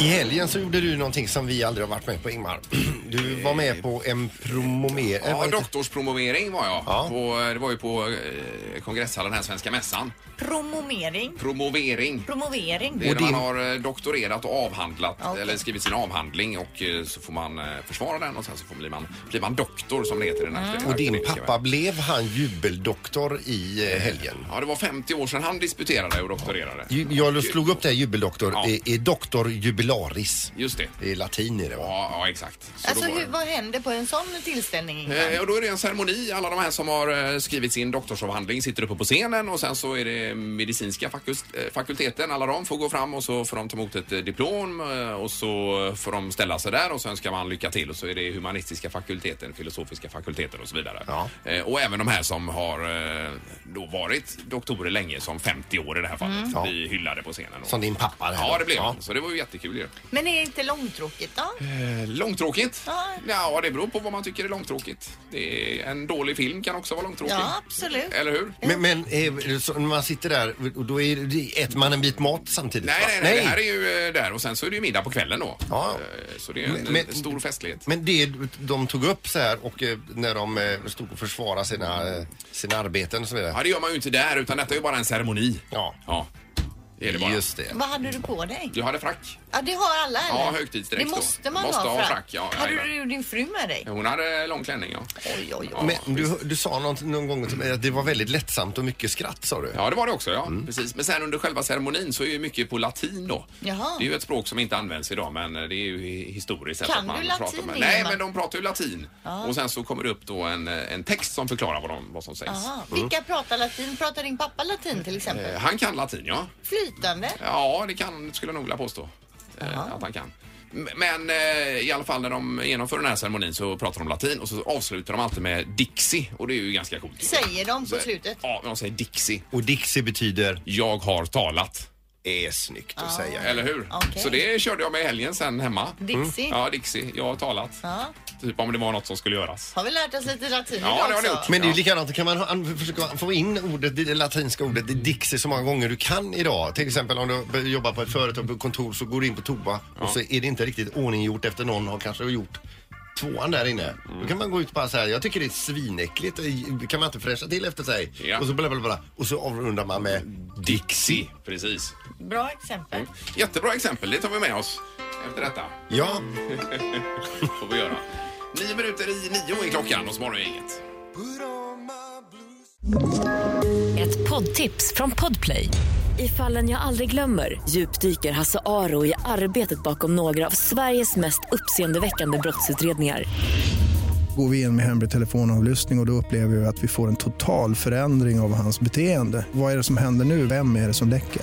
[SPEAKER 3] I helgen så gjorde du någonting som vi aldrig har varit med på Ingmar. Du var med på en promomer... eh,
[SPEAKER 1] Ja,
[SPEAKER 3] vad heter-
[SPEAKER 1] doktorspromovering var jag. På, det var ju på eh, kongresshallen här, Svenska mässan.
[SPEAKER 5] Promomering.
[SPEAKER 1] Promovering.
[SPEAKER 5] Promovering.
[SPEAKER 1] Det är när man har eh, doktorerat och avhandlat
[SPEAKER 5] Okej.
[SPEAKER 1] eller skrivit sin avhandling och eh, så får man eh, försvara den och sen så får, blir, man, blir man doktor som det heter i den här
[SPEAKER 3] Mm. Och din
[SPEAKER 1] akademiska
[SPEAKER 3] pappa, blev han jubeldoktor i eh, helgen?
[SPEAKER 1] Ja, det var 50 år sedan han disputerade och doktorerade.
[SPEAKER 3] Ju- Jag slog upp det här jubeldoktor.
[SPEAKER 1] Ja.
[SPEAKER 3] Är, är doktor jubilaris.
[SPEAKER 1] Just det.
[SPEAKER 3] Det är latin i det va?
[SPEAKER 1] Ja, ja exakt. Så
[SPEAKER 5] Alltså
[SPEAKER 1] då var
[SPEAKER 5] hur, vad händer på en sån tillställning? Ingmar?
[SPEAKER 1] Eh, Och då är det en ceremoni. Alla de här som har eh, skrivit sin doktorsavhandling sitter uppe på scenen och sen så är det medicinska fakus- eh, fakulteten. Alla de får gå fram och så får de ta emot ett eh, diplom eh, och så får de ställa sig där och så önskar man lycka till och så är det humanistiska fakulteten, filosofiska fakulteten och så vidare. Eh, Och även de här som har eh, då varit doktorer länge, som 50 år i det här fallet,
[SPEAKER 5] Mm.
[SPEAKER 3] Ja.
[SPEAKER 1] blir hyllade på scenen.
[SPEAKER 3] Som din pappa? det här
[SPEAKER 1] Ja,
[SPEAKER 3] då.
[SPEAKER 1] det blev
[SPEAKER 3] Ja.
[SPEAKER 1] han. Så det var ju jättekul ju.
[SPEAKER 5] Men är det inte långtråkigt då?
[SPEAKER 1] Eh, Långtråkigt? Ja, det beror på vad man tycker är långtråkigt. Det är, en dålig film kan också vara långtråkig.
[SPEAKER 5] Ja, absolut.
[SPEAKER 1] Eller hur?
[SPEAKER 3] Men, men eh, så när man sitter där och då är, det- äter man en bit mat samtidigt?
[SPEAKER 1] Nej,
[SPEAKER 3] va?
[SPEAKER 1] nej, nej, Det här är ju eh, där och sen så är det ju middag på kvällen då. Eh, Så det är en
[SPEAKER 3] Men- men-
[SPEAKER 1] stor festlighet.
[SPEAKER 3] Men det de tog upp så här och eh, när de eh, stod och försvarade sina, eh, sina arbeten och så vidare.
[SPEAKER 1] Ja, det gör man ju inte där utan detta är ju bara en ceremoni.
[SPEAKER 3] Ja.
[SPEAKER 1] Ja, det är det bara. Just
[SPEAKER 3] det.
[SPEAKER 5] Vad hade du på dig?
[SPEAKER 1] Du hade frack.
[SPEAKER 5] Ja, det har alla eller?
[SPEAKER 1] Ja, högtidsdräkt
[SPEAKER 5] Det
[SPEAKER 1] då.
[SPEAKER 5] måste man
[SPEAKER 1] Måste
[SPEAKER 5] ha,
[SPEAKER 1] ha
[SPEAKER 5] frack.
[SPEAKER 1] frack, ja,
[SPEAKER 5] hade
[SPEAKER 1] jajamän.
[SPEAKER 5] du din fru med dig?
[SPEAKER 1] Hon hade lång klänning, ja.
[SPEAKER 5] Oj, oj,
[SPEAKER 1] Ja,
[SPEAKER 3] Men du, du sa någon, någon gång till mig att det var väldigt lättsamt och mycket skratt sa du.
[SPEAKER 1] Ja, det var det också, ja.
[SPEAKER 5] Mm.
[SPEAKER 1] Precis. Men sen under själva ceremonin så är ju mycket på latin då.
[SPEAKER 5] Jaha.
[SPEAKER 1] Det är ju ett språk som inte används idag men det är ju hi- historiskt. sett
[SPEAKER 5] Kan
[SPEAKER 1] att man
[SPEAKER 5] du latin,
[SPEAKER 1] pratar med...
[SPEAKER 5] Ingemar?
[SPEAKER 1] Nej, men de pratar ju latin.
[SPEAKER 5] Ja.
[SPEAKER 1] Och sen så kommer det upp då en, eh, en text som förklarar vad, de, vad som sägs.
[SPEAKER 5] Aha.
[SPEAKER 1] Mm.
[SPEAKER 5] Ah, Vilka pratar latin? Pratar din pappa latin till exempel?
[SPEAKER 1] Eh, Han kan latin, ja.
[SPEAKER 5] Flytande?
[SPEAKER 1] Ja, det kan, skulle jag nog vilja påstå eh, att han kan. M- Men eh, i alla fall när de genomför den här ceremonin så pratar de latin och så avslutar de alltid med Dixie och det är ju ganska coolt.
[SPEAKER 5] Säger de på
[SPEAKER 1] Så-
[SPEAKER 5] slutet?
[SPEAKER 1] Ja, men de säger Dixie.
[SPEAKER 3] Och Dixie betyder?
[SPEAKER 1] Jag har talat.
[SPEAKER 3] Är snyggt att säga.
[SPEAKER 1] Eller hur?
[SPEAKER 5] Okej.
[SPEAKER 1] Så det körde jag med i helgen sen hemma.
[SPEAKER 5] Dixie?
[SPEAKER 1] Mm. Ja, Dixie. Jag har talat.
[SPEAKER 5] Ja.
[SPEAKER 1] Typ om det var något som skulle göras.
[SPEAKER 5] Har vi lärt oss lite latin
[SPEAKER 1] Ja,
[SPEAKER 5] idag
[SPEAKER 1] det har ni
[SPEAKER 5] också?
[SPEAKER 1] gjort.
[SPEAKER 3] Men det är
[SPEAKER 1] Ja.
[SPEAKER 3] likadant, kan man an- försöka få in ordet, det latinska ordet Dixie så många gånger du kan idag. Till exempel om du jobbar på ett företag, på ett kontor, så går du in på toa
[SPEAKER 1] Ja.
[SPEAKER 3] och så är det inte riktigt ordninggjort efter någon har kanske gjort tvåan där inne. Då kan man gå ut och bara så här, jag tycker det är svinäckligt, det kan man inte fräscha till efter sig?
[SPEAKER 1] Ja.
[SPEAKER 3] Och så bla bla bla, och så avrundar man med Dixie.
[SPEAKER 1] Precis.
[SPEAKER 5] Bra exempel.
[SPEAKER 1] Mm. Jättebra exempel. Det tar vi med oss efter detta.
[SPEAKER 3] Ja.
[SPEAKER 1] får vi göra. Nio minuter i nio är klockan hos Morgongänget.
[SPEAKER 11] Ett poddtips från Podplay. I fallen jag aldrig glömmer djupdyker Hasse Aro i arbetet bakom några av Sveriges mest uppseendeväckande brottsutredningar.
[SPEAKER 12] Går vi in med hemlig telefonavlyssning och, och då upplever vi att vi får en total förändring av hans beteende. Vad är det som händer nu? Vem är det som läcker?